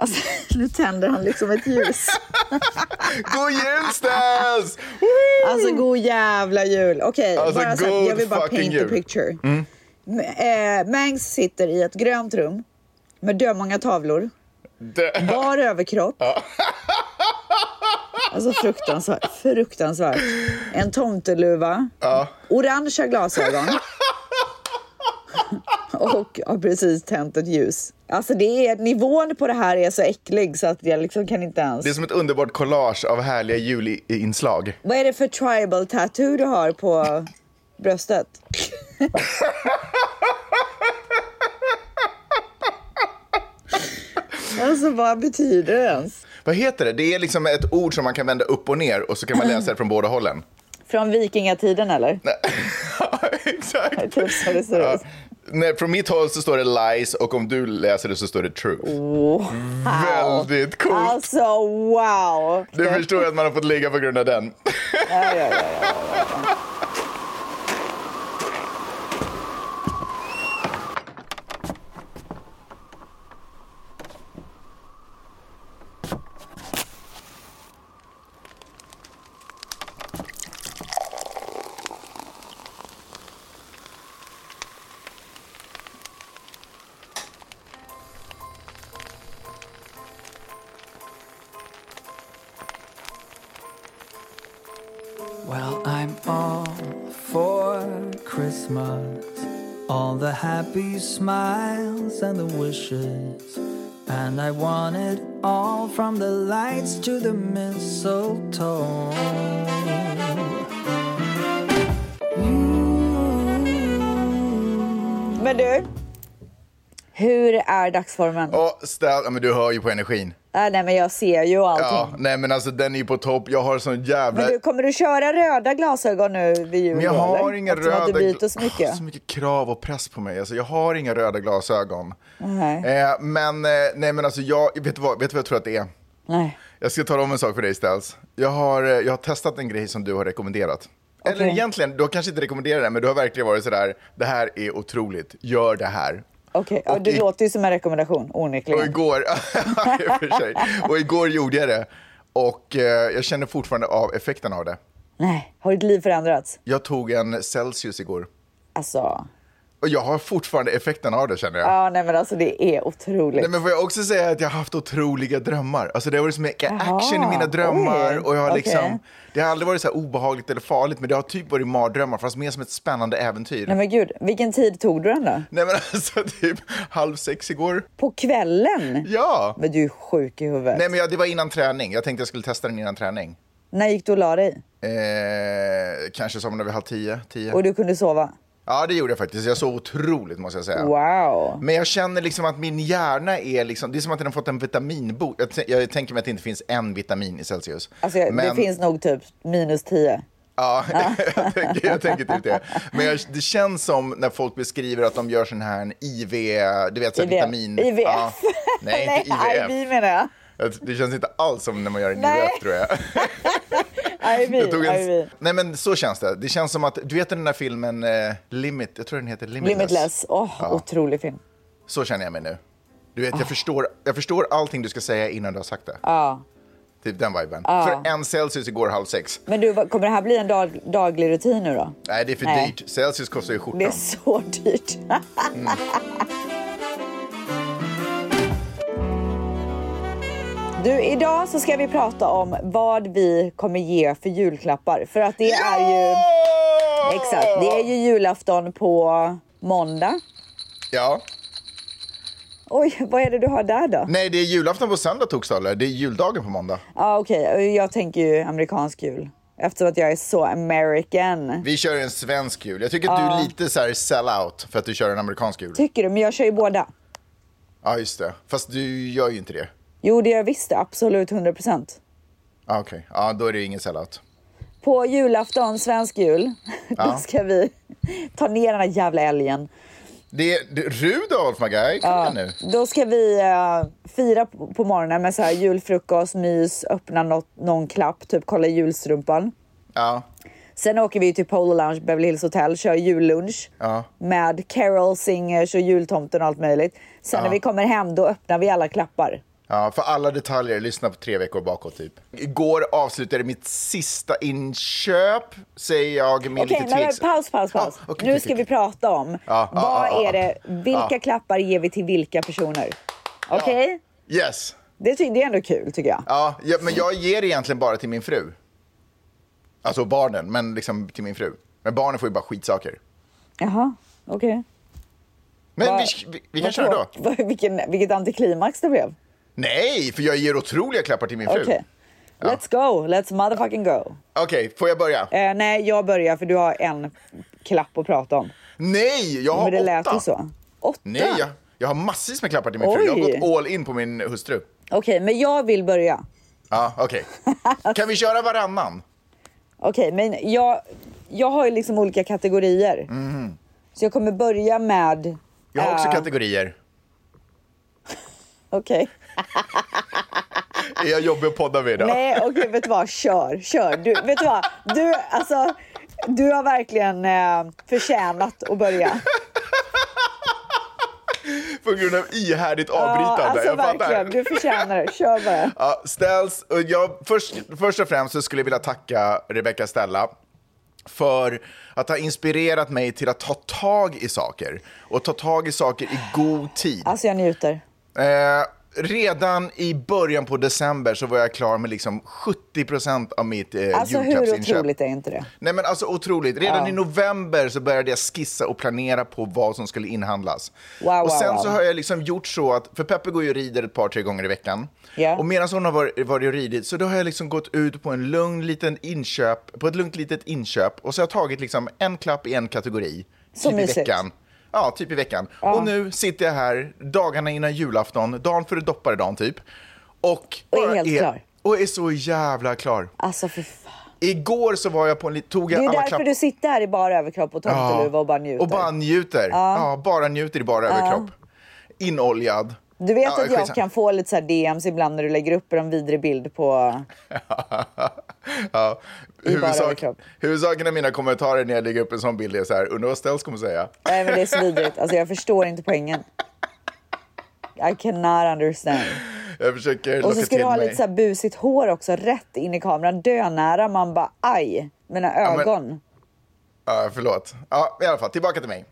Alltså, nu tänder han liksom ett ljus. God Jenstas! Alltså god jävla jul. Okej, Alltså, bara så här, god jag vill bara fucking paint jul. Mm. the picture. M- Eh, Mangs sitter i ett grönt rum med dömånga tavlor, Det- bar överkropp. Alltså fruktansvärt. fruktansvärt. En tomteluva, Ja. orangea glasögon och har precis tänt ett ljus. Alltså det är, nivån på det här är så äcklig så att jag liksom kan inte ens... Det är som ett underbart collage av härliga julinslag. Vad är det för tribal tattoo du har på bröstet? alltså vad betyder det ens? Vad heter det? Det är liksom ett ord som man kan vända upp och ner och så kan man läsa det från båda hållen. Från vikingatiden eller? Ja, Exakt. Typ så det ser ut. Nej, från mitt håll så står det lies och om du läser det så står det truth. Väldigt coolt. Alltså wow! Du förstår att man har fått ligga på grund av den. Ja, ja, ja. Well, I'm all for Christmas. All the happy smiles and the wishes. And I want it all from the lights to the mistletoe. Men du, hur är dagsformen? Och stä- ja, men du hör ju på energin. Ah, nej men jag ser ju allting. Ja, nej men alltså den är ju på topp. Jag har sån jävla... Men du, kommer du köra röda glasögon nu vid jul? Men jag då, har eller? inga Eftersom röda... att du byter så gla- mycket. Åh, så mycket krav och press på mig. Alltså, jag har inga röda glasögon. Nej. Eh, men eh, nej men alltså jag... Vet du, vad, vet du vad jag tror att det är? Nej. Jag ska tala om en sak för dig Stels. Jag har, eh, jag har testat en grej som du har rekommenderat. Eller Okej. egentligen, du har kanske inte rekommenderat det, men du har verkligen varit sådär, det här är otroligt, gör det här. Okej, ja, Och du i- låter ju som en rekommendation Och onekligen. igår, i och för sig. och igår gjorde jag det. Och eh, jag känner fortfarande av effekten av det. Nej, har ditt liv förändrats? Jag tog en Celsius igår. Alltså, Och jag har fortfarande effekten av det känner jag. ja, nej men alltså det är otroligt. Nej, men får jag också säga att jag har haft otroliga drömmar. Alltså det har varit så mycket Jaha, action i mina drömmar. oj, och jag har liksom, okej. Det har aldrig varit så här obehagligt eller farligt, men det har typ varit mardrömmar, fast mer som ett spännande äventyr. Nej Nej, men gud, vilken tid tog du den då? men alltså typ halv sex igår. På kvällen? Ja! Men du är sjuk i huvudet. Nej, men jag, det var innan träning. Jag tänkte jag skulle testa den innan träning. När gick du och la dig? Eh, kanske somnade vid halv tio, tio. Och du kunde sova? Ja, det gjorde jag faktiskt. Jag sov otroligt måste jag säga. Wow. Men jag känner liksom att min hjärna är liksom, det är som att den har fått en vitaminbot. Jag, t- jag tänker mig att det inte finns en vitamin i Celsius. Alltså jag- det Men- finns nog typ minus 10. Ja, jag, tänker, jag tänker typ det. Men jag, det känns som när folk beskriver att de gör sån här IV, du vet, så här IVF. vitamin... IVF. Ja. nej, inte IVF. IB menar jag. Det känns inte alls som när man gör en Nej. IVF tror jag. IB, jag tog en, IB. nej men så känns det. Det känns som att, du vet den där filmen eh, Limit, jag tror den heter Limitless. Limitless. Åh, otrolig film. Så känner jag mig nu. Du vet, jag, förstår, jag förstår allting du ska säga innan du har sagt det. Ja. Typ den viben. För en Celsius igår halv sex. Men du, vad- kommer det här bli en dag, daglig rutin nu då? Nej, det är för Nej. dyrt. Celsius kostar ju skjortan. Det är så dyrt. Du, idag så ska vi prata om vad vi kommer ge för julklappar. För att det är ju... Exakt, det är ju julafton på måndag. Ja. Oj, vad är det du har där då? Nej, det är julafton på söndag Tokstolle. Det är juldagen på måndag. Ja, okej, jag tänker ju amerikansk jul. Eftersom att jag är så American. Vi kör en svensk jul. Jag tycker att du är lite så här sell-out för att du kör en amerikansk jul. Tycker du? Men jag kör ju båda. Ja, just det. Fast du gör ju inte det. Jo, det gör jag visst. Absolut, 100 procent. Ah, Okej, ja, då är det ju ingen sell-out. På julafton, svensk jul, då ska vi ta ner den här jävla älgen. Det är det, Rudolf, my guy. Kom igen nu. Då ska vi eh, fira på, på morgonen med så här julfrukost, mys, öppna något, någon klapp, typ kolla julstrumpan. Ja, Sen åker vi till Polo Lounge, Beverly Hills Hotel, kör jullunch Ja. med carol singers och jultomten och allt möjligt. Sen när vi kommer hem, då öppnar vi alla klappar. Ja, för alla detaljer, lyssna på tre veckor bakåt typ. Igår avslutade mitt sista inköp, säger jag med Okej, lite men tveks... paus, paus, paus. Ah, okej, nu okej, ska okej. vi prata om Ja, ja, vad ja, ja. är det, vilka klappar ger vi till vilka personer? Okej? Yes. Det, ty- det är ändå kul tycker jag. Ja, ja, men jag ger egentligen bara till min fru. Alltså barnen, men liksom till min fru. Men barnen får ju bara skitsaker. Jaha, okej. Men Vad- vi, vi, vi kan Vad köra då. tråk- vad- Vilken, vilket antiklimax det blev. Nej, för jag ger otroliga klappar till min fru. Okej. Let's go, let's motherfucking go. Okej, får jag börja? Eh, nej, jag börjar för du har en klapp att prata om. Nej, jag har Men det åtta. lät ju så. Åtta? Nej, jag, jag har massvis med klappar till min fru. Jag har Oj. gått all in på min hustru. Okej, men jag vill börja. Ja, okej. Kan vi köra varannan? Okej, men jag, jag har ju liksom olika kategorier. Så jag kommer börja med... Mhm. Jag har också eh, kategorier. Okej. Är jag jobbig att podda med idag? Nej, okej, vet du vad? Kör, kör. Du, vet du vad? Du, alltså, du har verkligen eh, förtjänat att börja. På grund av ihärdigt Ja, avbrytande. alltså jag verkligen. Du förtjänar det. Kör bara. Ja, Ställs, och jag, först, först och främst så skulle jag vilja tacka Rebecca Stella för att ha inspirerat mig till att ta tag i saker och ta tag i saker i god tid. Alltså jag njuter. Eh, redan i början på december så var jag klar med liksom 70 av mitt eh, Alltså hur julklappsinköp. otroligt är inte det? Nej men alltså otroligt. Redan i november så började jag skissa och planera på vad som skulle inhandlas. Wow, och wow, sen wow. så har jag liksom gjort så att, för Peppe går ju och rider ett par, tre gånger i veckan. Ja. Och medan hon har varit, varit och ridit så då har jag liksom gått ut på en lugn liten inköp, på ett lugnt litet inköp och så har jag tagit liksom en klapp i en kategori. Så typ mysigt. i veckan. Ja, typ i veckan. Och nu sitter jag här dagarna innan julafton, dagen före dopparedagen typ. Och, Och är bara helt klar. Och är så jävla klar. Alltså för fan. Igår så var jag på en li- tog Det jag är alla därför klapp... du sitter här i bara överkropp och tomteluva och bara njuter. Och bara njuter. Ja. bara njuter i bara överkropp. Inoljad. Du vet Ja, att jag skitsamma. kan få lite så här DMs ibland när du lägger upp en vidrig bild på... ja. I bara Huvudsak, överkropp. huvudsaken i mina kommentarer när jag lägger upp en sån bild är så här, undrar vad Ställs kommer säga. Nej men det är så vidrigt. Alltså jag förstår inte poängen. I cannot understand. Jag försöker Och locka så ska till du ha mig. lite så här busigt hår också, rätt in i kameran, dönära. Man bara aj, mina men- ögon. Ja, förlåt. Ja, i alla fall, tillbaka till mig.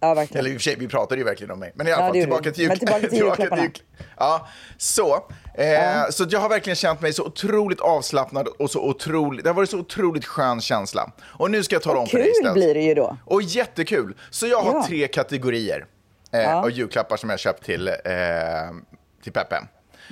Ja, verkligen. Eller i och för sig, vi pratade ju verkligen om mig. Men i alla Ja, fall, det gjorde tillbaka vi. till, jul- Men tillbaka till julklapparna. jul- Ja, så. Eh, Så att jag har verkligen känt mig så otroligt avslappnad och så otroligt... Det har varit så otroligt skön känsla. Och nu ska jag ta om för dig, Kul Ställs. blir det ju då. Och jättekul. Så jag har Ja. tre kategorier eh, Ja. av julklappar som jag köpt till, eh, till Peppe.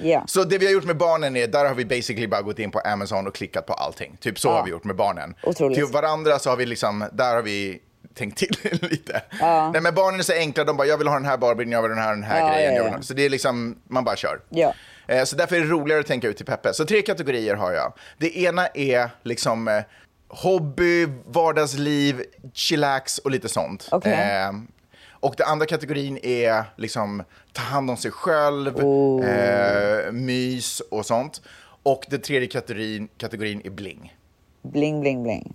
Ja. Så det vi har gjort med barnen är, där har vi basically bara gått in på Amazon och klickat på allting. Typ så har vi gjort med barnen. Otroligt. Till varandra så har vi liksom, där har vi tänkt till lite. Nej men barnen är så enkla, de bara jag vill ha den här Barbien, jag vill ha den här, den här Ja, grejen. ja, jag vill ja. ha- Så det är liksom, man bara kör. Ja. Eh, Så därför är det roligare att tänka ut till Peppe. Så tre kategorier har jag. Det ena är liksom eh, hobby, vardagsliv, chillax och lite sånt. Okej. Eh, och den andra kategorin är liksom ta hand om sig själv, eh, mys och sånt. Och den tredje kategorin, kategorin är bling. Bling, bling, bling.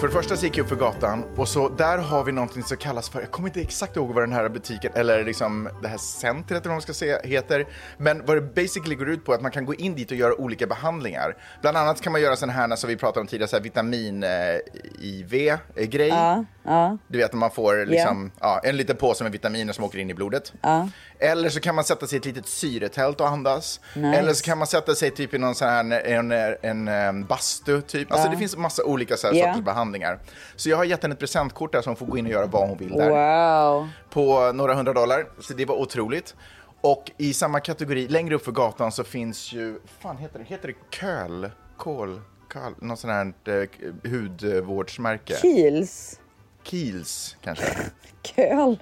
För det första så gick jag upp för gatan och så där har vi någonting som kallas för, jag kommer inte exakt ihåg vad den här butiken eller liksom det här centret eller vad man ska säga heter. Men vad det basically går ut på är att man kan gå in dit och göra olika behandlingar. Bland annat kan man göra sådana här som vi pratade om tidigare, så här eh, vitamin-IV-grej. eh, Du vet när man får liksom, ja, en liten påse med vitaminer som åker in i blodet. Eller så kan man sätta sig i ett litet syretält och andas. Eller så kan man sätta sig typ i någon sån här, en, en, en, em, bastu typ. Alltså det finns massa olika så här Ja. sorters behandlingar. Så jag har gett henne ett presentkort där som får gå in och göra vad hon vill där. Wow. På några hundra dollar. Så det var otroligt. Och i samma kategori, längre upp för gatan så finns ju, fan heter det, heter det köl? Kol? Kal, någon sån här eh, hudvårdsmärke. Kiehl's. Kiels kanske? Köl.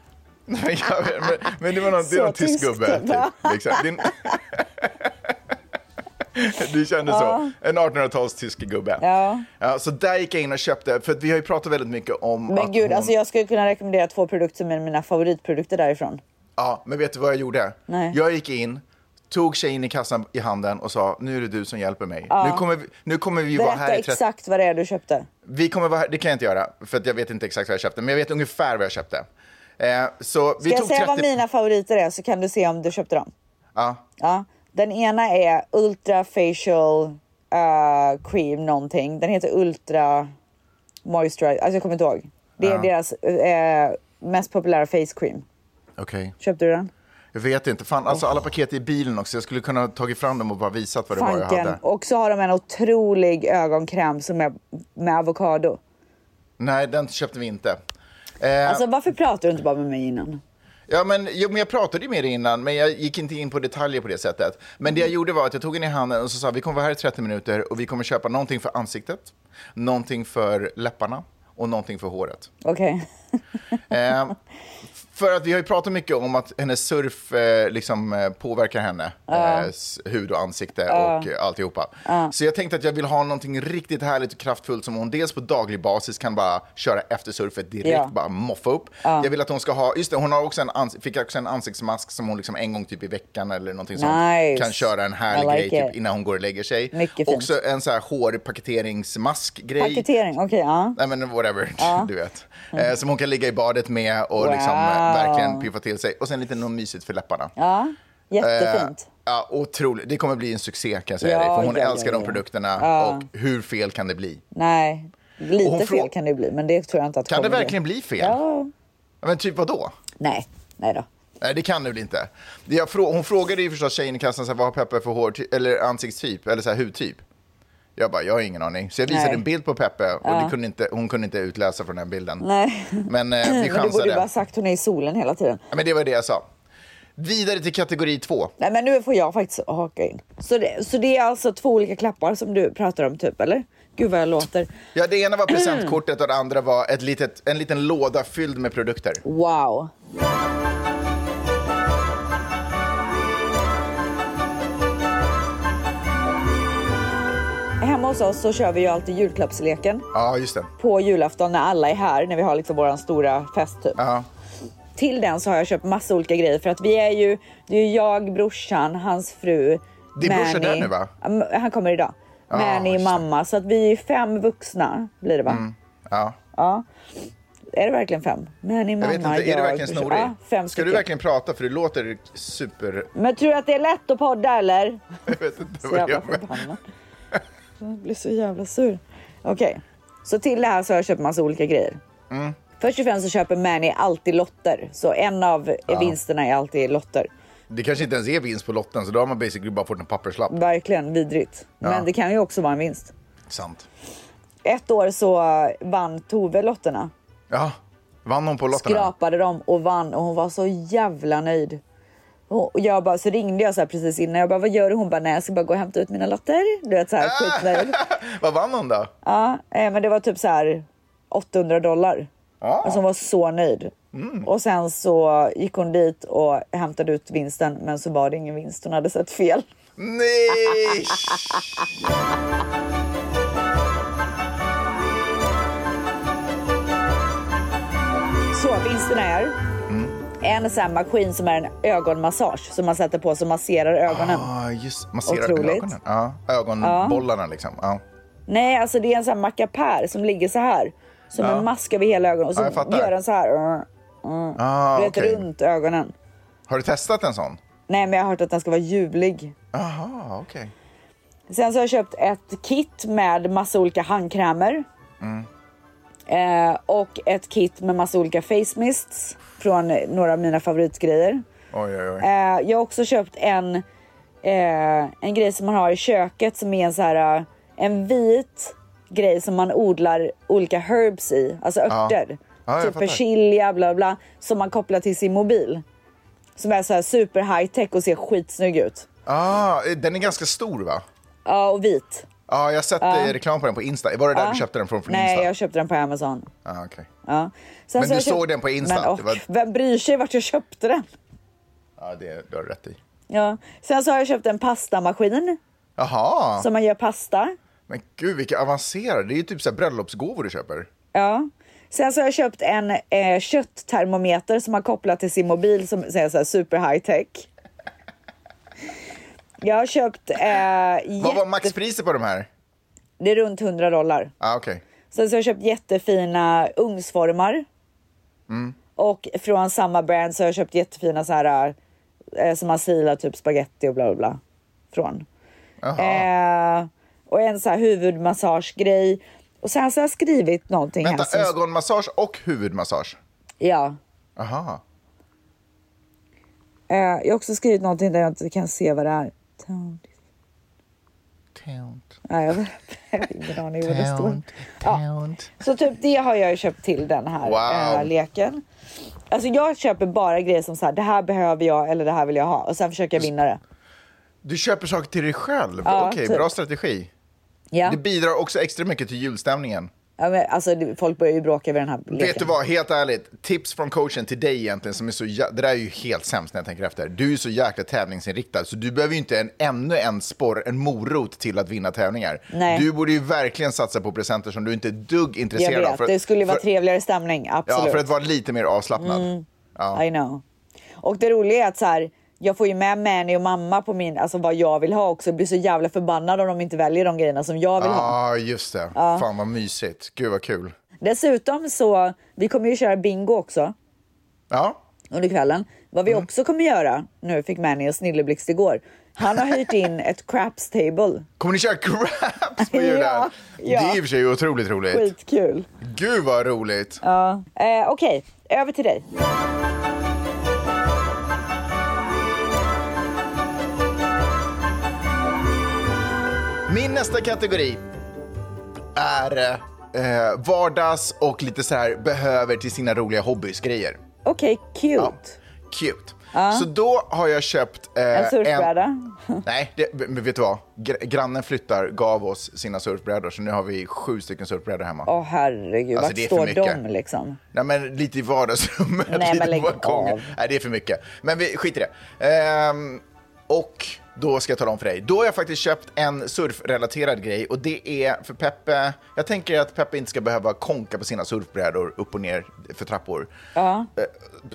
Nej, jag vet, men, men det var någon, det är Så någon tysk tyskt, gubbe. va? Typ, liksom. Din... Du kände så. En 1800-tals tysk gubbe. Ja. så där gick jag in och köpte, för att vi har ju pratat väldigt mycket om Men att gud, hon... alltså jag skulle kunna rekommendera två produkter som är mina favoritprodukter därifrån. Ja, men vet du vad jag gjorde? Nej. Jag gick in, tog tjejen i kassan i handen och sa, nu är det du som hjälper mig. Nu, kommer vi, nu kommer vi vara Berätta här i 30 exakt vad det är du köpte. Vi kommer vara här, det kan jag inte göra, för att jag vet inte exakt vad jag köpte, men jag vet ungefär vad jag köpte. Eh, så Ska vi jag tog säga 30... vad mina favoriter är så kan du se om du köpte dem? Ja. Ja. Den ena är Ultra Facial eh, Cream någonting. Den heter Ultra Moisturizer. Alltså jag kommer inte ihåg. Det är deras eh, mest populära face cream. Okej. Köpte du den? Jag vet inte. Fan, alltså alla paket är i bilen också. Jag skulle kunna ha tagit fram dem och bara visat vad det var jag Fanken. hade. Och så har de en otrolig ögonkräm som är med avokado. Nej, den köpte vi inte. Eh, Alltså varför pratar du inte bara med mig innan? ja, men, jo, men jag pratade ju med dig innan, men jag gick inte in på detaljer på det sättet. Men det jag gjorde var att jag tog den i handen och så sa vi kommer vara här i 30 minuter och vi kommer köpa någonting för ansiktet, någonting för läpparna och någonting för håret. Okej. Eh, för att vi har ju pratat mycket om att hennes surf eh, liksom, eh, påverkar henne. Eh, s- hud och ansikte och eh, alltihopa. Så jag tänkte att jag vill ha någonting riktigt härligt och kraftfullt som hon dels på daglig basis kan bara köra efter surfet direkt, Ja. bara moffa upp. Jag vill att hon ska ha, just det, hon har också en ans- fick också en ansiktsmask som hon liksom en gång typ i veckan eller någonting sånt Nice. kan köra en I härlig like grej it. typ, innan hon går och lägger sig. Mycket fint. också en så här hårpaketeringsmask-grej. Paketering, okej. ja. Nej men whatever, du vet. Eh, som hon kan ligga i badet med och Wow. liksom eh, verkligen piffa till sig. Och sen lite något mysigt för läpparna. Ja, jättefint. Eh, ja, otroligt. Det kommer bli en succé kan jag säga Ja, dig. För hon ja, ja, älskar ja. de produkterna och hur fel kan det bli? Nej, Och lite hon frå- fel kan det bli, men det tror jag inte att Kan det kommer verkligen bli fel? Ja. Men typ vad då? Nej, nej då. Nej, det kan du väl inte? Jag frå- hon frågade ju förstås tjejen i kassan så här, vad har Peppe för hår, eller ansiktstyp, eller så här, hudtyp. Jag bara, jag har ingen aning. Så jag visade Nej. en bild på Peppe och det kunde inte, hon kunde inte utläsa från den bilden. Nej. Men eh, vi Men du borde chansade. ju bara ha sagt hon är i solen hela tiden. Ja, men det var det jag sa. Vidare till kategori två. Nej men nu får jag faktiskt haka in. Så det, så det är alltså två olika klappar som du pratar om typ eller? Gud vad jag låter. Ja, det ena var presentkortet och det andra var ett litet, en liten låda fylld med produkter. Wow. Hemma hos oss så kör vi ju alltid julklappsleken Ja, just det. på julafton när alla är här, när vi har liksom våran stora fest typ. Ja. Till den så har jag köpt massa olika grejer för att vi är ju, det är ju jag, brorsan, hans fru. Din brorsa är där nu, va? Ja, men Han kommer idag. Ja, Manny, just det. Mm. mamma. Så att vi är ju fem vuxna blir det va? ja. Ja. Är det verkligen fem? Manny, Jag mamma, vet inte, är du verkligen brorsan. snorig? Ja, fem Ska stycken. du verkligen prata? För du låter super... Men tror du att det är lätt att podda eller? Jag vet inte Så vad jävla jag menar. förbannad. Jag blir så jävla sur. Okej, så till det här så har jag köpt massa olika grejer. Mm. Först och främst så köper Manny alltid lotter. Så en av vinsterna är alltid lotter. Det kanske inte ens är vinst på lotten, så då har man basically bara fått en papperslapp. Verkligen vidrigt. Men det kan ju också vara en vinst. Sant. Ett år så vann Tove lotterna. Ja. Vann hon på lotterna? Skrapade dem och vann och hon var så jävla nöjd. Och jag bara, så ringde jag så här precis innan. Jag bara, vad gör du? Hon bara, nej jag ska bara gå och hämta ut mina lotter. Du vet så här skitnöjd. Vad vann hon då? Ja, eh, men det var typ så här 800 dollar. Ja. Alltså hon var så nöjd. Och sen så gick hon dit och hämtade ut vinsten men så var det ingen vinst. Hon hade sett fel. Nej! Så vinsterna är en sån här maskin som är en ögonmassage som man sätter på som masserar ögonen. Ah, just Massera Otroligt. ögonen. Ja, ögonbollarna liksom. Ja. Nej, alltså det är en sån här mackapär som ligger så här. Som en mask över hela ögonen och så Ja, jag fattar. gör den så här. Mm, mm. Ah, du vet, okej. runt ögonen. Har du testat en sån? Nej, men jag har hört att den ska vara ljuvlig. Jaha, okej. Sen så har jag köpt ett kit med massa olika handkrämer. Mm. Eh, och ett kit med massa olika face mists från några av mina favoritgrejer. Oj, oj, oj. Eh, jag har också köpt en, eh, en grej som man har i köket som är en så här eh, en vit grej som man odlar olika herbs i, alltså örter. Ja, jag typ fattar. persilja, bla bla, som man kopplar till sin mobil. Som är så här super high tech och ser skitsnygg ut. Ah, eh, den är ganska stor va? Ja, och vit. Ja, jag har sett eh, reklam på den på Insta. Var det där du köpte den från? från Nej, Insta? jag köpte den på Amazon. Ah, okej. Ja. Sen Men så du jag köpt- såg den på Insta? Men, och, Det var- Vem bryr sig vart jag köpte den? Ja, det, du har rätt i. Ja. Sen så har jag köpt en pastamaskin Jaha, som man gör pasta. men gud vilka avancerade. Det är ju typ så här bröllopsgåvor du köper. Ja. Sen så har jag köpt en eh, kötttermometer som man kopplar till sin mobil som så är så här super high tech. Jag har köpt... Eh, Vad var jätte- maxpriset på de här? Det är runt 100 dollar. Ah, okej. Sen så har jag köpt jättefina ugnsformar. Mm. Och från samma brand så har jag köpt jättefina så här eh, som man silar typ spaghetti och bla bla bla från. Jaha. Eh, och en så här huvudmassagegrej. Och sen så har jag skrivit någonting här. Vänta, som- ögonmassage och huvudmassage? Ja. Aha. Eh, jag har också skrivit någonting där jag inte kan se vad det är. Town. Tant, Nej, jag vet- jag har ingen aning vad det står. tant, tant. Så typ det har jag ju köpt till den här Wow. eh, leken. Alltså jag köper bara grejer som så här, det här behöver jag eller det här vill jag ha och sen försöker jag Alltså, vinna det. Du köper saker till dig själv? Ja, Okej, typ. bra strategi. Ja. Det bidrar också extra mycket till julstämningen. ja men, alltså det- folk börjar ju bråka över den här leken. Vet du vad, helt ärligt, tips från coachen till dig egentligen som är så jä- Det där är ju helt sämst när jag tänker efter. Du är så jäkla tävlingsinriktad så du behöver ju inte en, ännu en sporr, en morot till att vinna tävlingar. Nej. Du borde ju verkligen satsa på presenter som du inte är ett dugg Jag intresserad av. vet, för att- det skulle ju vara för- trevligare stämning. Absolut. Mm, Ja, för att vara lite mer avslappnad. I know. Och det roliga är att så här, jag får ju med Manny och mamma på min, alltså vad jag vill ha också. Jag blir så jävla förbannad om de inte väljer de grejerna som jag vill Ja, ha. ah, just det. Fan vad mysigt. Gud vad kul. Dessutom så, vi kommer ju köra bingo också Ja, under kvällen. Vad Mm. vi också kommer göra, nu fick Manny en snilleblixt igår. Han har hyrt in ett craps table. Kommer ni köra craps på julen? Ja, ja. Det är i och för sig otroligt roligt. Skitkul. Gud vad roligt. Eh, Okej, över till dig. Min nästa kategori är eh, vardags och lite så här behöver till sina roliga hobbysgrejer. Okej, cute. Cute. Så då har jag köpt... eh, En surfbräda. Nej, det, men vet du vad? Gr- grannen flyttar, gav oss sina surfbrädor, så nu har vi sju stycken surfbrädor hemma. Åh herregud, Alltså, vart det är för står mycket. de liksom? Nej men lite i vardagsrummet, Nej, lite men lägg på balkongen. av. Nej det är för mycket. Men vi skiter i det. Ehm, och då ska jag tala om för dig. Då har jag faktiskt köpt en surfrelaterad grej och det är för Peppe. Jag tänker att Peppe inte ska behöva konka på sina surfbrädor upp och ner för trappor. Eh,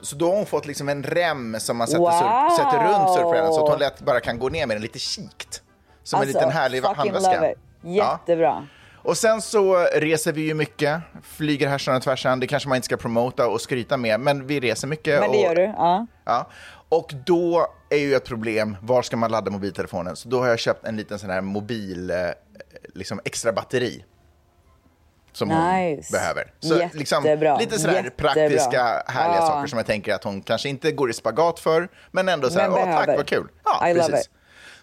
Så då har hon fått liksom en rem som man sätter, surf, Wow! sätter runt surfbrädan så att hon lätt bara kan gå ner med den lite kikt. Som en liten härlig Alltså, fucking handväska. love it. Ja. Jättebra. Och sen så reser vi ju mycket, flyger härsan och tvärsan. Det kanske man inte ska promota och skryta med, men vi reser mycket. Men det och, gör du. Ja. Ja. Och då är ju ett problem, var ska man ladda mobiltelefonen? Så då har jag köpt en liten sån här mobil, eh, liksom extra batteri. Som Nice. hon behöver. Så Jättebra. liksom, lite sådär Jättebra. praktiska, härliga Ja. saker som jag tänker att hon kanske inte går i spagat för, men ändå så här, Men åh tack behöver. vad kul. Ja, I love precis. it.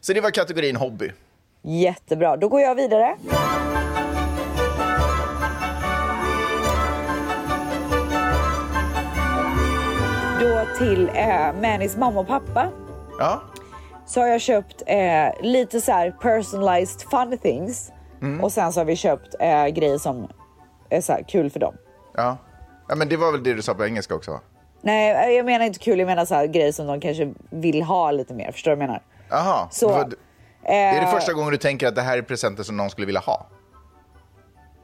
Så det var kategorin hobby. Jättebra. Då går jag vidare. Då till eh, Mannys mamma och pappa Ja, så har jag köpt eh, lite så här personalized fun things Mm. och sen så har vi köpt eh, grejer som är så här kul för dem. ja. ja men det var väl det du sa på engelska också? va? Nej, eh, jag menar inte kul. Jag menar så här grejer som de kanske vill ha lite mer. Förstår du vad jag menar? Jaha. Så, Vad- det är eh, det första gången du tänker att det här är presenter som någon skulle vilja ha?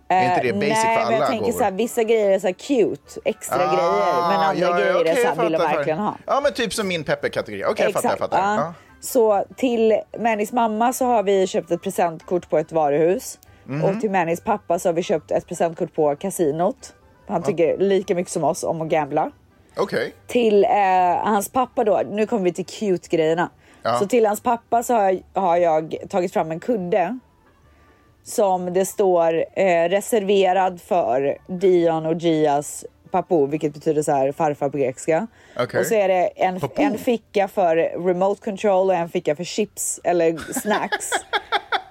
är inte det Eh, basic Nej, för men alla jag tänker gåvor? så här, vissa grejer är så här cute, extra Ah, grejer, men andra ja, ja, grejer okej, är så jag här, vill de fattar, jag verkligen ha. fattar. Ja, men typ som min Peppe-kategori. Okej, jag fattar. Jag fattar. ja. Ja. Så till Mannys mamma så har vi köpt ett presentkort på ett varuhus Mhm. och till Mannys pappa så har vi köpt ett presentkort på kasinot. Han tycker lika mycket som oss om att gambla. Okej. Till eh, hans pappa då, nu kommer vi till cute grejerna. Ja. Så till hans pappa så har jag, har jag tagit fram en kudde. Som det står eh, reserverad för Dion och Gias pappo, vilket betyder så här farfar på grekiska. Okej. Och så är det en, Pappo. en ficka för remote control och en ficka för chips eller snacks.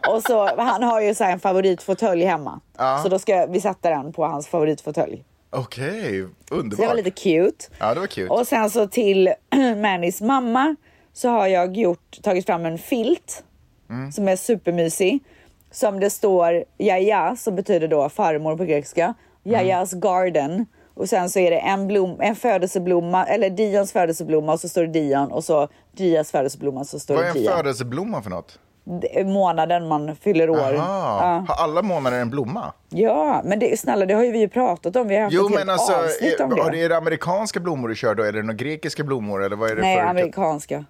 och så, han har ju så här en favoritfåtölj hemma. Så då ska vi sätta den på hans favoritfåtölj. Okej, Så det underbart. var lite cute. Ja, det var cute. Och sen så till Mannys Mm. mamma så har jag gjort, tagit fram en filt som är supermysig. som det står Jaja, som betyder då farmor på grekiska. Mm. Jajas garden. Och sen så är det en, blom, en födelseblomma, eller Dions födelseblomma och så står det Dion och så Dias födelseblomma så står Vad är det en Dia. födelseblomma för något? Det är Månaden man fyller år. Aha. Har alla månader en blomma? Ja, men det, snälla det har ju vi ju pratat om. Vi har haft Jo, ett helt men alltså, avsnitt om är, har det. det- är det amerikanska blommor du kör då? Är det några grekiska blommor? Eller vad är det Nej, för... typ? amerikanska.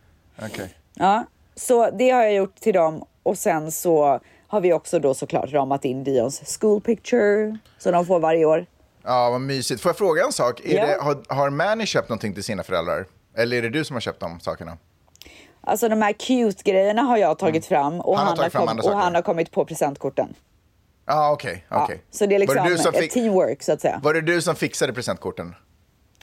Okej. Ja, så det har jag gjort till dem och sen så har vi också då såklart ramat in Dions school picture som de får varje år. Ja, vad mysigt. Får jag fråga en sak? Är Ja. det, har, har Manny köpt någonting till sina föräldrar? Eller är det du som har köpt de sakerna? Alltså de här cute grejerna har jag tagit fram och Mm. Han har han, har, tagit fram kom, andra och saker. han har kommit på presentkorten. Ah, okej, okej. Ja, så det är liksom var, det du som ett fick- teamwork så att säga. var det du som fixade presentkorten?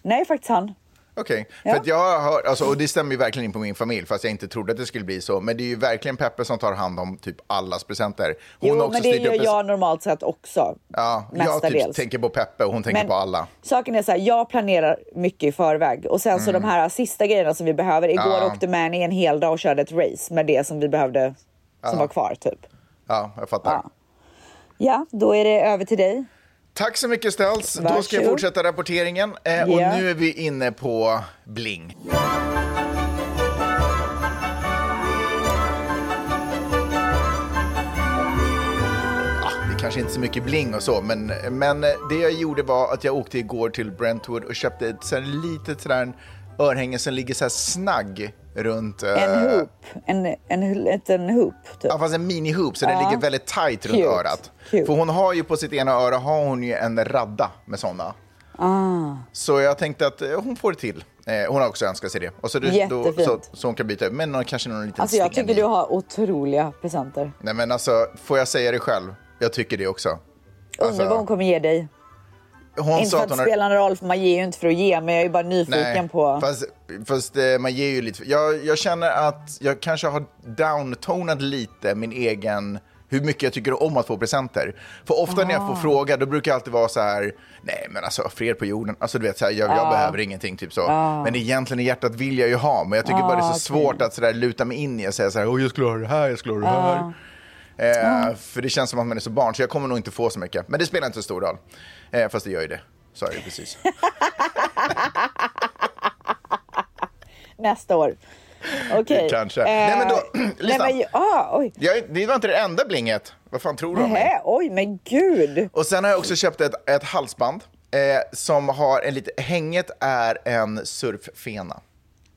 Nej, faktiskt han. Okej, Ja. för att jag har, alltså, och det stämmer ju verkligen in på min familj fast jag inte trodde att det skulle bli så. Men det är ju verkligen Peppe som tar hand om typ allas presenter. Hon har Jo, också men det styrt upp gör en- jag normalt sett också. Ja, jag typ mestadels. tänker på Peppe och hon tänker Men på alla. Saken är så här, jag planerar mycket i förväg och sen så de här sista grejerna som vi behöver. Igår Mm. Ja. åkte Manny en hel dag och körde ett race med det som vi behövde som var kvar typ. Ja, jag fattar. Ja. Ja, då är det över till dig. Tack så mycket Stels. Då ska jag Varsågod. fortsätta rapporteringen. Eh, Ja. Och nu är vi inne på bling. Ah, det är Kanske inte så mycket bling och så, men, men eh, det jag gjorde var att jag åkte igår till Brentwood och köpte ett sån här litet sådär örhänge som ligger så här snagg runt... eh, En hoop, en, en liten hoop typ. Ja, fast en mini-hoop så den ligger väldigt tight runt Cute. örat. Cute. För hon har ju på sitt ena öra har hon ju en radda med sådana. Ah. Så jag tänkte att eh, hon får det till. Eh, hon har också önskat sig det. Och så, du, då, Jättefint. så, så hon kan byta ut. Men någon, kanske någon liten Alltså jag sten tycker du i. har otroliga presenter. Nej men alltså, får jag säga det själv? Jag tycker det också. Alltså, Undrar vad hon kommer ge dig. hon inte för att det spelar någon roll för man ger ju inte för att ge men jag är bara nyfiken på... Fast, fast eh, man ger ju lite. Jag, jag känner att jag kanske har downtonat lite min egen hur mycket jag tycker om att få presenter. För ofta när jag Ah. får fråga, då brukar jag alltid vara så här, nej men alltså fred på jorden, alltså du vet så här, jag, Ah. jag behöver ingenting typ så. Men egentligen i hjärtat vill jag ju ha, men jag tycker bara det är så Ah, svårt att så där, luta mig in i och säga så här, oh, jag skulle ha det här, jag skulle ha det Ah. här. Eh, För det känns som att man är så barn, så jag kommer nog inte få så mycket. Men det spelar inte så stor roll. Eh, fast det gör ju det, sa jag ju precis. Nästa år. Okej. Eh, Kanske. Nej, men då- nej, lyssna. men, ju- ah, oj. Jag, det var inte det enda blinget. Vad fan tror du om mig? Nähä, oj men gud. Och sen har jag också köpt ett, ett halsband eh, som har en liten... Hänget är en surffena.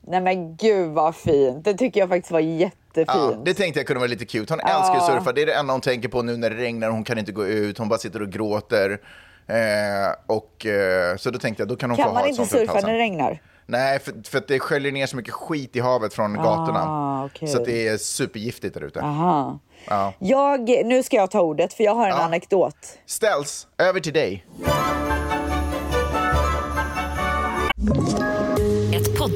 Nej men gud vad fint. Det tycker jag faktiskt var jättefint. Ja, det tänkte jag kunde vara lite cute. Hon älskar ju surfa. Det är det enda hon tänker på nu när det regnar. Hon kan inte gå ut. Hon bara sitter och gråter. Eh, och, eh, så då tänkte jag, då kan hon få kan ha man ett inte sånt runt surfa när halsen. det regnar? Nej, för, för att det sköljer ner så mycket skit i havet från gatorna. Ah, okej. Så att det är supergiftigt där ute. Aha. Ja. Jag, nu ska jag ta ordet för jag har en anekdot. Ställs, över till dig. Ett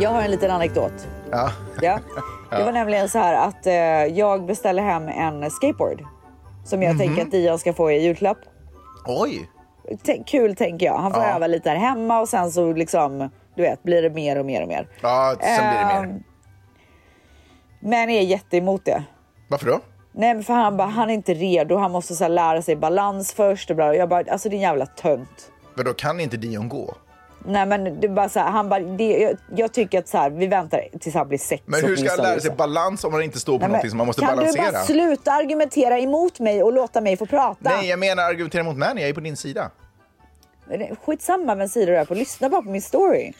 Jag har en liten anekdot. Ja. Ja. Det var nämligen så här att eh, jag beställde hem en skateboard som jag tänker Mhm. att Dion ska få i julklapp. Oj! T- kul tänker jag. Han får Ja. öva lite här hemma och sen så liksom, du vet, blir det mer och mer och mer. Ja, sen blir det mer. Ehm, Men är jätte emot det. Varför då? Nej men för han bara, han är inte redo. Han måste så här, lära sig balans först och bla. Jag bara, alltså din jävla tönt. Men då kan inte Dion gå. Nej men det är bara så här, han bara, det, jag, jag tycker att så här, vi väntar tills han blir sex. Men hur ska han åtminstone, lära sig liksom. balans om han inte står på Nej, men någonting som man måste kan du balansera? bara sluta argumentera emot mig och låta mig få prata? Nej, jag menar argumentera mot Manny, jag är på din sida. Skitsamma vem sida du är på, lyssna bara på min story.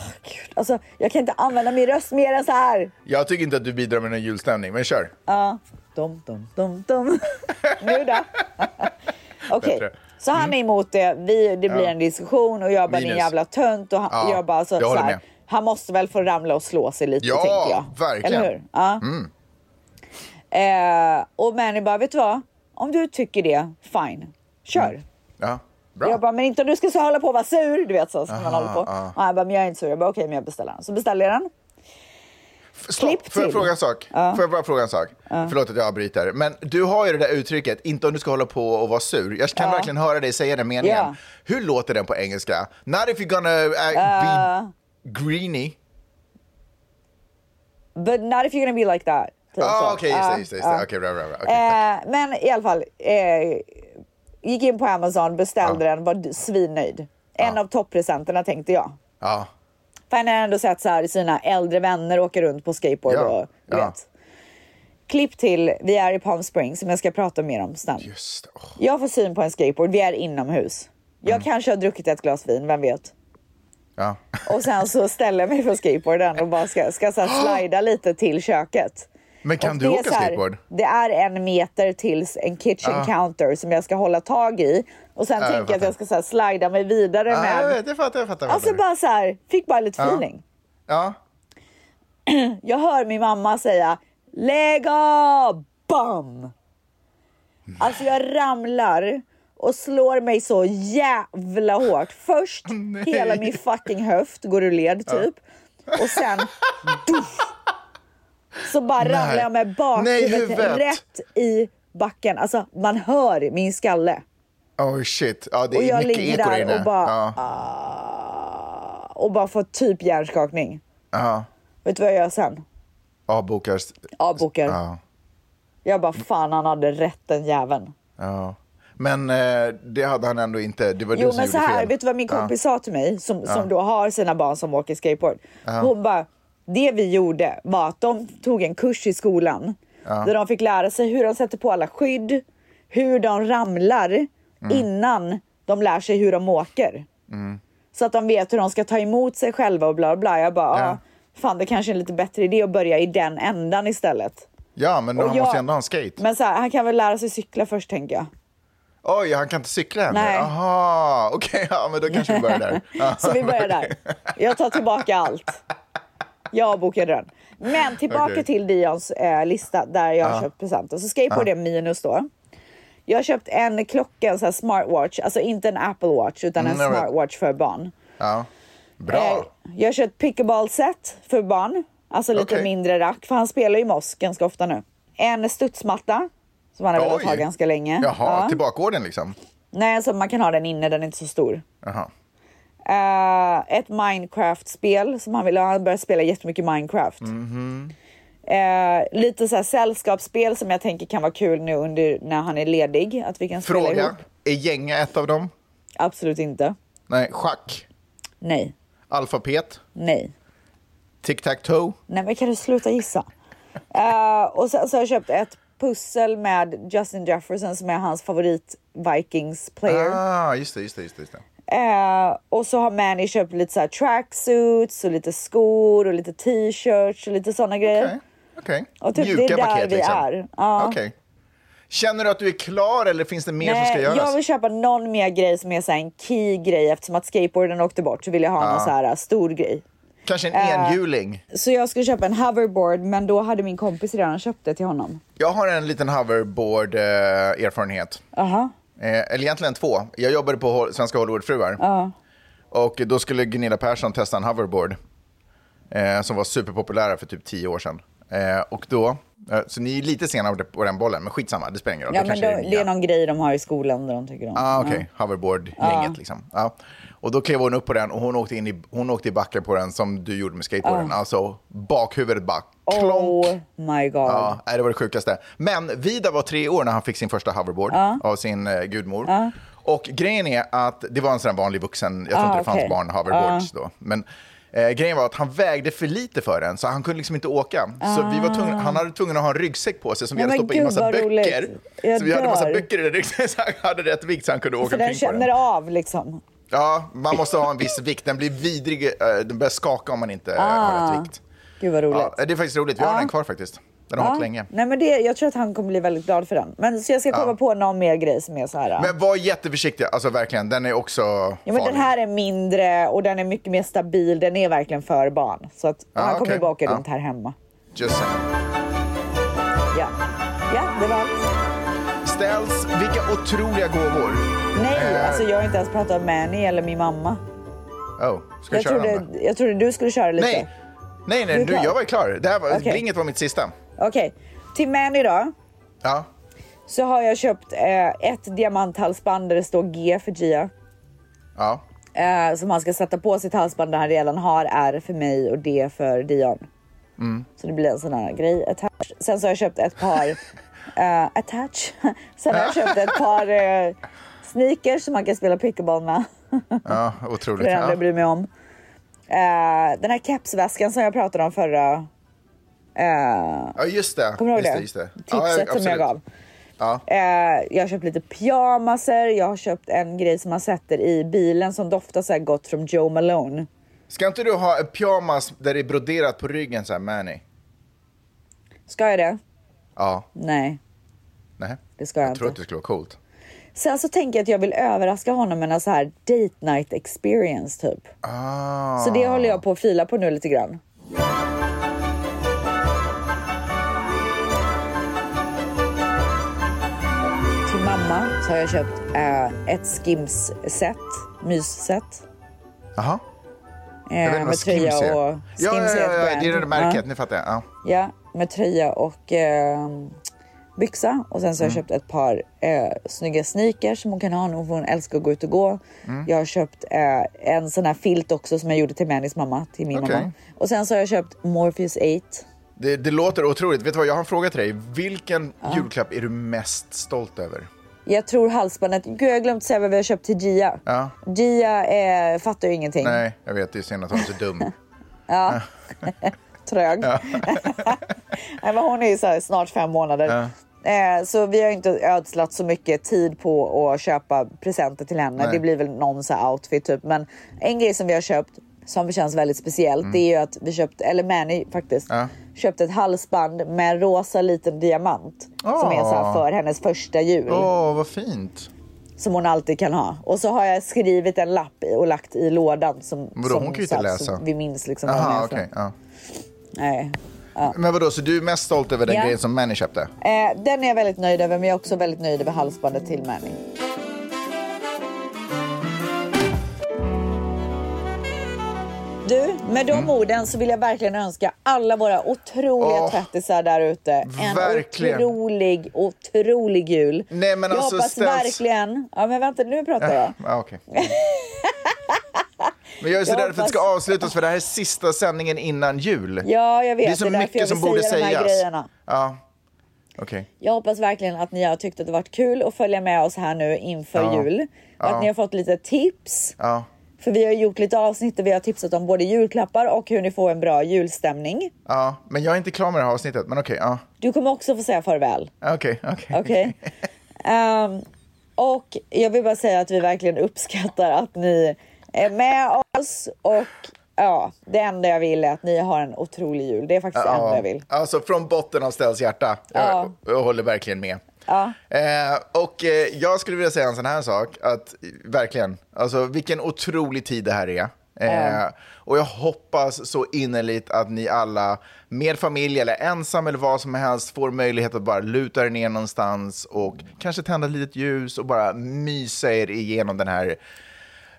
Åh, Gud, alltså, jag kan inte använda min röst mer än så här. Jag tycker inte att du bidrar med någon julstämning, men kör. Ja. Dum, dum, dum, dum. nu då? Okej, Bättre. Mm. så han är emot det. Vi, det blir en diskussion och jag bara, din Minus. jävla tönt. Och han, Ja, jag bara, alltså, jag håller så här, med. Han måste väl få ramla och slå sig lite, Ja, tänker jag. verkligen. Mm. Eller hur? Ja. Eh, och Manny bara, vet du vad? Om du tycker det, fine. Kör. Ja, Mm. bra. Jag bara, men inte om du ska så hålla på och vara sur. Du vet så som man Aha, håller på. ja. Och han bara, men jag är inte sur. Jag bara, okej, men jag beställer den. Så beställer jag den. klipp Stopp, får jag till. fråga en sak? Får jag bara fråga en sak? Förlåt att jag avbryter. Men du har ju det där uttrycket, inte om du ska hålla på och vara sur. Jag kan verkligen höra dig säga den meningen. Ja. Hur låter den på engelska? Not if you're gonna uh, be greeny. But not if you're gonna be like that. Typ Ah, så. Okej, just Ja, det. Just det, just ja. det. Okej, bra, bra, bra. Okej, tack. Eh, men i alla fall, eh, gick in på Amazon, beställde den, var d- svinnöjd. En av toppresenterna tänkte jag. Ja. För han har ändå sett så här sina äldre vänner åka runt på skateboard Ja, och du ja. vet. Klipp till, vi är i Palm Springs som jag ska prata mer om snabbt. Just det. Åh, Jag får syn på en skateboard, vi är inomhus. Jag Mm. kanske har druckit ett glas vin, vem vet? Ja. Och sen så ställer jag mig på skateboarden och bara ska, ska så här slida lite till köket. Men kan Och du det är åka så här, skateboard? Det är en meter tills en kitchen Ah. counter som jag ska hålla tag i. Och sen jag tänker jag att fattar. jag ska så här slida mig vidare Ja, jag med... vet, jag fattar. Jag fattar vad Alltså du menar. Ah. bara så här, fick bara lite feeling. Ja. Jag hör min mamma säga lägg av! Bam! Alltså jag ramlar och slår mig så jävla hårt. Först hela min fucking höft går ur led typ. Och sen dusch, så bara Nej. ramlar jag med Nej, bakhuvudet huvudet. rätt i backen. Alltså man hör min skalle. Oh shit. Ja, det Och är jag mycket ligger eko där där inne. och bara... Ja. "Ah", Och bara får typ hjärnskakning. Ja. Vet du vad jag gör sen? Avbokar. Avbokar. Ja. Jag bara, fan han hade rätt den jäveln. Ja. Men eh, det hade han ändå inte. Det var Jo du som men gjorde så här, fel. vet du vad min kompis sa till mig som, som då har sina barn som åker skateboard? Hon bara, det vi gjorde var att de tog en kurs i skolan där de fick lära sig hur de sätter på alla skydd, hur de ramlar Mm. innan de lär sig hur de åker. Så att de vet hur de ska ta emot sig själva och bla bla. Jag bara, Ja. ah, fan det kanske är en lite bättre idé att börja i den ändan istället. Ja, men Och han måste jag- ju ändå ha en skate. Men så här, han kan väl lära sig cykla först tänker jag. Oj, han kan inte cykla än? Nej. Aha, okej, ja, men då kanske vi börjar där. Ja. Så vi börjar där. Jag tar tillbaka allt. Jag bokade den. Men tillbaka Okej. till Dions eh, lista där jag har köpt presenter. Så skateboard är minus då. Jag har köpt en klocka, en sån här smartwatch. Alltså inte en Apple Watch utan en Mm, jag vet. smartwatch för barn. Ja. Eh, Bra. jag har köpt pickleball-set för barn. Alltså lite Okej. mindre rack, för han spelar ju moss ganska ofta nu. En studsmatta som han har velat Oj. ha ganska länge. Jaha, Ja. tillbakagården liksom? Nej, alltså man kan ha den inne, den är inte så stor. Jaha. Eh, ett Minecraft-spel som han ville ha. Han började spela jättemycket Minecraft. Eh, lite så här sällskapsspel som jag tänker kan vara kul nu under, när han är ledig. Att vi kan spela ihop. Fråga, är gänga ett av dem? Absolut inte. Nej, schack? Nej, Alfabet? nej. Tic-tac-toe? Nej men kan du sluta gissa? Eh, och sen så har jag köpt ett pussel med Justin Jefferson som är hans favorit Vikings player. Ah, just det, just det, just det. Just det. Eh, och så har Manny köpt lite så här tracksuits och lite skor och lite t-shirts och lite sådana grejer. Okej. okej. Och typ det är där vi liksom. är. Ja. Okej. Känner du att du är klar eller finns det mer som ska göras? jag vill köpa någon mer grej som är så här en key grej eftersom att skateboarden åkte bort så vill jag ha någon så här uh, stor grej. Kanske en Eh. enhjuling? Så jag skulle köpa en hoverboard men då hade min kompis redan köpt det till honom. Jag har en liten hoverboard-erfarenhet. Aha. Eh, eller egentligen två. Jag jobbade på Hol- Svenska Hollywoodfruar. Och då skulle Gunilla Persson testa en hoverboard. Eh, som var superpopulära för typ tio år sedan. Eh, och då, eh, så ni är lite sena på den bollen, men skitsamma, det spelar ingen roll. Ja det men kanske då, är det det nya. är någon grej de har i skolan där de tycker om. Ah, okej. Hoverboard-gänget liksom. Ja. Och då klev hon upp på den och hon åkte, in i, hon åkte i backen på den som du gjorde med skateboarden. Alltså bakhuvudet bara klonk. Oh my god. Ja, nej, det var det sjukaste. Men Vida var tre år när han fick sin första hoverboard av sin eh, gudmor. Och grejen är att det var en sån här vanlig vuxen, jag tror Ah, inte det fanns okej. Ah. barn hoverboards då. Men eh, grejen var att han vägde för lite för den så han kunde liksom inte åka. Så vi var tvungna, han hade tvungen att ha en ryggsäck på sig som vi Nej, hade men stoppat in gud, massa vad roligt. böcker. Jag Så vi hade massa dör. böcker i den ryggsäcken så han hade rätt vikt så han kunde åka För den omkring på känner den. av liksom. Ja, man måste ha en viss vikt. Den blir vidrig, eh, den börjar skaka om man inte eh, har rätt vikt. Ah. Gud vad roligt. Ah. Ja, det är faktiskt roligt, vi har den kvar faktiskt. Den har hållit länge. Nej, men det, jag tror att han kommer bli väldigt glad för den. Men, så jag ska komma på någon mer grej som är så här. äh, Men var jätteförsiktig, alltså verkligen. Den är också ja, men farlig. den här är mindre och den är mycket mer stabil. Den är verkligen för barn. Så att Ja, han kommer Ah, okej. bara åka Ja. runt här hemma. Just saying. Ja. ja, det var allt. Ställs, vilka otroliga gåvor. Nej, Eh. alltså jag har inte ens pratat om Manny eller min mamma. Oh, ska jag, Jag köra den trodde, då? jag trodde du skulle köra lite. Nej, nej, Du nej är du, klar? jag var klar. Det här var, Okej. Blinget var mitt sista. Okej, till Manny då. Ja. Så har jag köpt eh, ett diamanthalsband där det står G för Gia. Ja. eh, som han ska sätta på sitt halsband där han redan har R för mig och D för Dion. Mm. Så det blir en sån här grej. Attach. Sen så har jag köpt ett par eh, attach. Sen har jag köpt ett par eh, sneakers som man kan spela pickleball med. ja, otroligt. Det är det enda Ja. jag bryr mig om. Eh, den här kepsväskan som jag pratade om förra... eh, ja, just det. Kommer du ihåg just det? det, just det. Tipset Ja, som jag absolut. gav. Ja. Eh, jag har köpt lite pyjamaser, jag har köpt en grej som man sätter i bilen som doftar så här gott från Joe Malone. Ska inte du ha en pyjamas där det är broderat på ryggen så här, Manny? Ska jag det? Ja, Nej, nej. det ska jag, Jag tror att inte. det skulle vara coolt. Sen så tänker jag att jag vill överraska honom med en så här date night experience typ. Ah. Så det håller jag på att fila på nu lite grann. Till mamma så har jag köpt eh, ett Skims-set, mysset. Jaha. Eh, med tröja och... ja, ja, är ett ja, ja, brand. det är det märket. Ja, Nu fattar jag. Ja. ja, med tröja och eh, byxa. Och sen så har jag Mm. köpt ett par eh, snygga sneakers som hon kan ha nu för hon älskar att gå ut och gå. Mm. Jag har köpt eh, en sån här filt också som jag gjorde till Mannys mamma, till min Okej. mamma. Och sen så har jag köpt Morpheus 8. Det, det låter otroligt. Vet du vad, jag har en fråga till dig. Vilken julklapp är du mest stolt Mm. över? Jag tror halsbandet, gud jag har glömt säga vad vi har köpt till Gia. Ja. Gia eh, fattar ju ingenting. Nej, jag vet. Det är synd att hon är så dum. trög. Nej, men hon är ju så här, snart fem månader. Eh, så vi har ju inte ödslat så mycket tid på att köpa presenter till henne. Nej. Det blir väl någon så här outfit typ. Men en grej som vi har köpt som känns väldigt speciellt det är ju att vi köpt, eller Manny faktiskt, Mm. Ja. köpte ett halsband med en rosa liten diamant. Som är så här Åh. för hennes första jul. Åh, vad fint. Som hon alltid kan ha. Och så har jag skrivit en lapp i, och lagt i lådan. Som, Vadå, som hon kan ju inte så här- läsa. Så vi minns liksom vad hon Aha, är okej. från. ja. Nej, Men vadå, så du är mest stolt över den Ja. grejen som Manny köpte? Eh, den är jag väldigt nöjd över, men jag är också väldigt nöjd över halsbandet till Manny. Du, med de Mm. orden så vill jag verkligen önska alla våra otroliga Åh, tvättisar där ute en verkligen. otrolig, otrolig jul. Nej, men jag alltså, hoppas ställs- verkligen... Ja, men vänta, nu pratar jag. Ja, okej. Mm. Men jag är så Jag rädd för att det ska hoppas- avslutas för det här är sista sändningen innan jul. Ja, jag vet. det är därför så jag vill mycket som borde säga de här sägas. grejerna. Ja, okej. Jag hoppas verkligen att ni har tyckt att det varit kul att följa med oss här nu inför Ja. jul. Och att ni har fått lite tips. Ja. För vi har gjort lite avsnitt där vi har tipsat om både julklappar och hur ni får en bra julstämning. ja, men jag är inte klar med det här avsnittet. Men okej, ja. Du kommer också få säga farväl. Okej, okej. Okej? Ehm, och jag vill bara säga att vi verkligen uppskattar att ni är med oss och ja, det enda jag vill är att ni har en otrolig jul. Det är faktiskt det enda jag vill. Alltså från botten av Stells hjärta. Jag, jag håller verkligen med. Eh, och eh, jag skulle vilja säga en sån här sak, att eh, verkligen, alltså vilken otrolig tid det här är. Eh, Och jag hoppas så innerligt att ni alla, med familj eller ensam eller vad som helst, får möjlighet att bara luta er ner någonstans och kanske tända ett litet ljus och bara mysa er igenom den här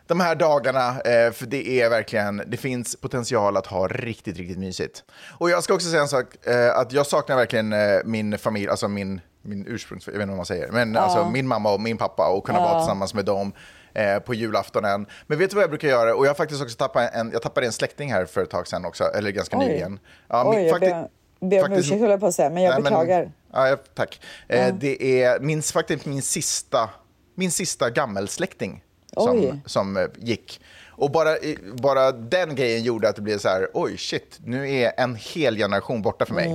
de här dagarna, eh, för det är verkligen, det finns potential att ha riktigt, riktigt mysigt. Och jag ska också säga en sak, eh, att jag saknar verkligen eh, min familj, alltså min, min ursprungs... Jag vet inte vad man säger, men alltså min mamma och min pappa och kunna vara tillsammans med dem eh, på julaftonen. Men vet du vad jag brukar göra? Och jag har faktiskt också tappat en, jag tappade en släkting här för ett tag sedan också, eller ganska Oj. nyligen. Ja, Oj, men jag fakti- ber, ber om faktiskt- ursäkt höll jag på att säga, men jag Nej, men- beklagar. Ja, ja, tack. Eh, Det är min, faktiskt min sista, min sista gammelsläkting Oj. som, som eh, gick. Och bara, i- bara den grejen gjorde att det blev så här, oj shit, nu är en hel generation borta för mig.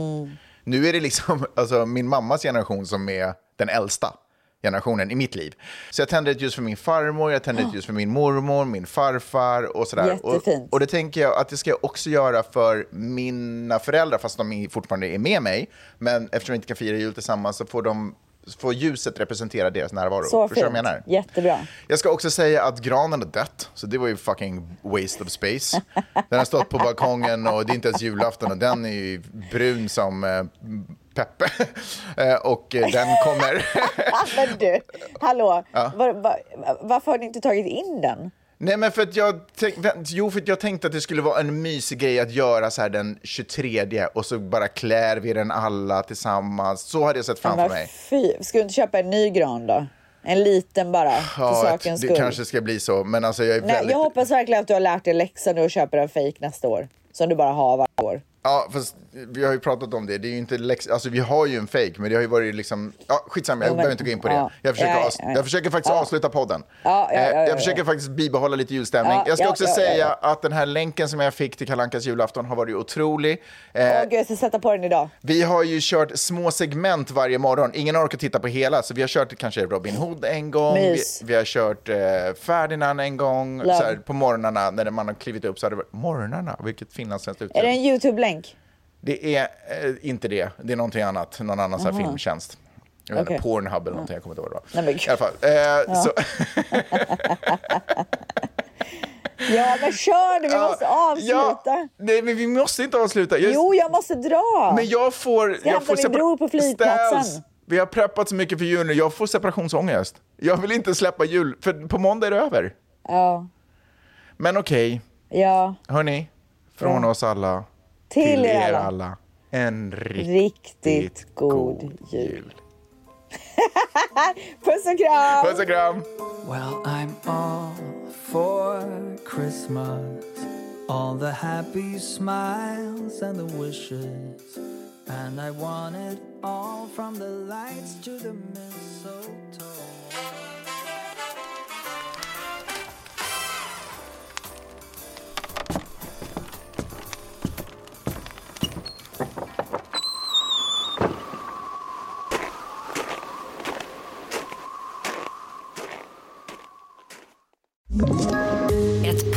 Nu är det liksom alltså, min mammas generation som är den äldsta. generationen i mitt liv. Så jag tände ett ljus för min farmor, jag tände ett ljus för min mormor, min farfar och sådär. Jättefint. Och, och det tänker jag att det ska jag också göra för mina föräldrar, fast de fortfarande är med mig. Men eftersom vi inte kan fira jul tillsammans så får de får ljuset representera deras närvaro. Så Förstår du fint. vad jag menar? Jättebra. Jag ska också säga att granen är dött, så det var ju fucking waste of space. Den har stått på balkongen och det är inte ens julafton och den är ju brun som eh, Peppe. Eh, och eh, den kommer... Ah, men du, hallå. Var, var, varför har ni inte tagit in den? Nej men för att jag, tänk, vänt- jo, för att jag tänkte att det skulle vara en mysig grej att göra så här den 23 och så bara klär vi den alla tillsammans. Så hade jag sett framför Men mig. Fy, ska du inte köpa en ny gran då? En liten bara, för att sakens det skull. kanske ska bli så, men alltså jag är Nej, väldigt... jag hoppas verkligen att du har lärt dig läxan nu och köper en fake nästa år. Som du bara har varje år. Ja, fast vi har ju pratat om det. Det är ju inte läx... Alltså vi har ju en fake, men det har ju varit liksom... Ja, skitsamma, jag Jo, men- behöver inte gå in på det. ja. Jag försöker, Ja, avs- ja, ja. jag försöker faktiskt avsluta podden. ja, ja, Eh, ja, ja. Jag försöker faktiskt bibehålla lite julstämning. Ja, jag ska ja, också ja, ja, säga ja. att den här länken som jag fick till Kalankas julafton har varit otrolig. Eh, Åh gud, jag ska sätta på den idag. vi har ju kört små segment varje morgon. Ingen orkar titta på hela, så vi har kört kanske Robin Hood en gång. Vi, Mys. vi har kört eh, Ferdinand en gång. Så Love. här, på morgnarna, när man har klivit upp så har det varit... Morgnarna? Vilket finlandssvenskt uttryck. Är det en YouTube-länk? Det är eh, inte det. Det är någonting annat. Någon annan så här filmtjänst. Jag vet inte, Okej. Pornhub eller någonting. Jag kommer inte ihåg vad det var. Nej, men gud. I alla fall. Eh, så, Ja, men kör du, vi måste avsluta. Ja, nej, men vi måste inte avsluta. Jag, Jo, jag måste dra. Men jag får... jag hämta får min separ- bror på flygplatsen? Ställs. Vi har preppat så mycket för jul nu. Jag får separationsångest. Jag vill inte släppa jul, för på måndag är det över. Ja, Men okej, ja. hörni. Från oss alla Till, till er alla. En riktigt, Riktigt god jul. Puss och kram! Puss och kram! Well, I'm all for Christmas. All the happy smiles and the wishes. And I want it all from the lights to the mistletoe. Ett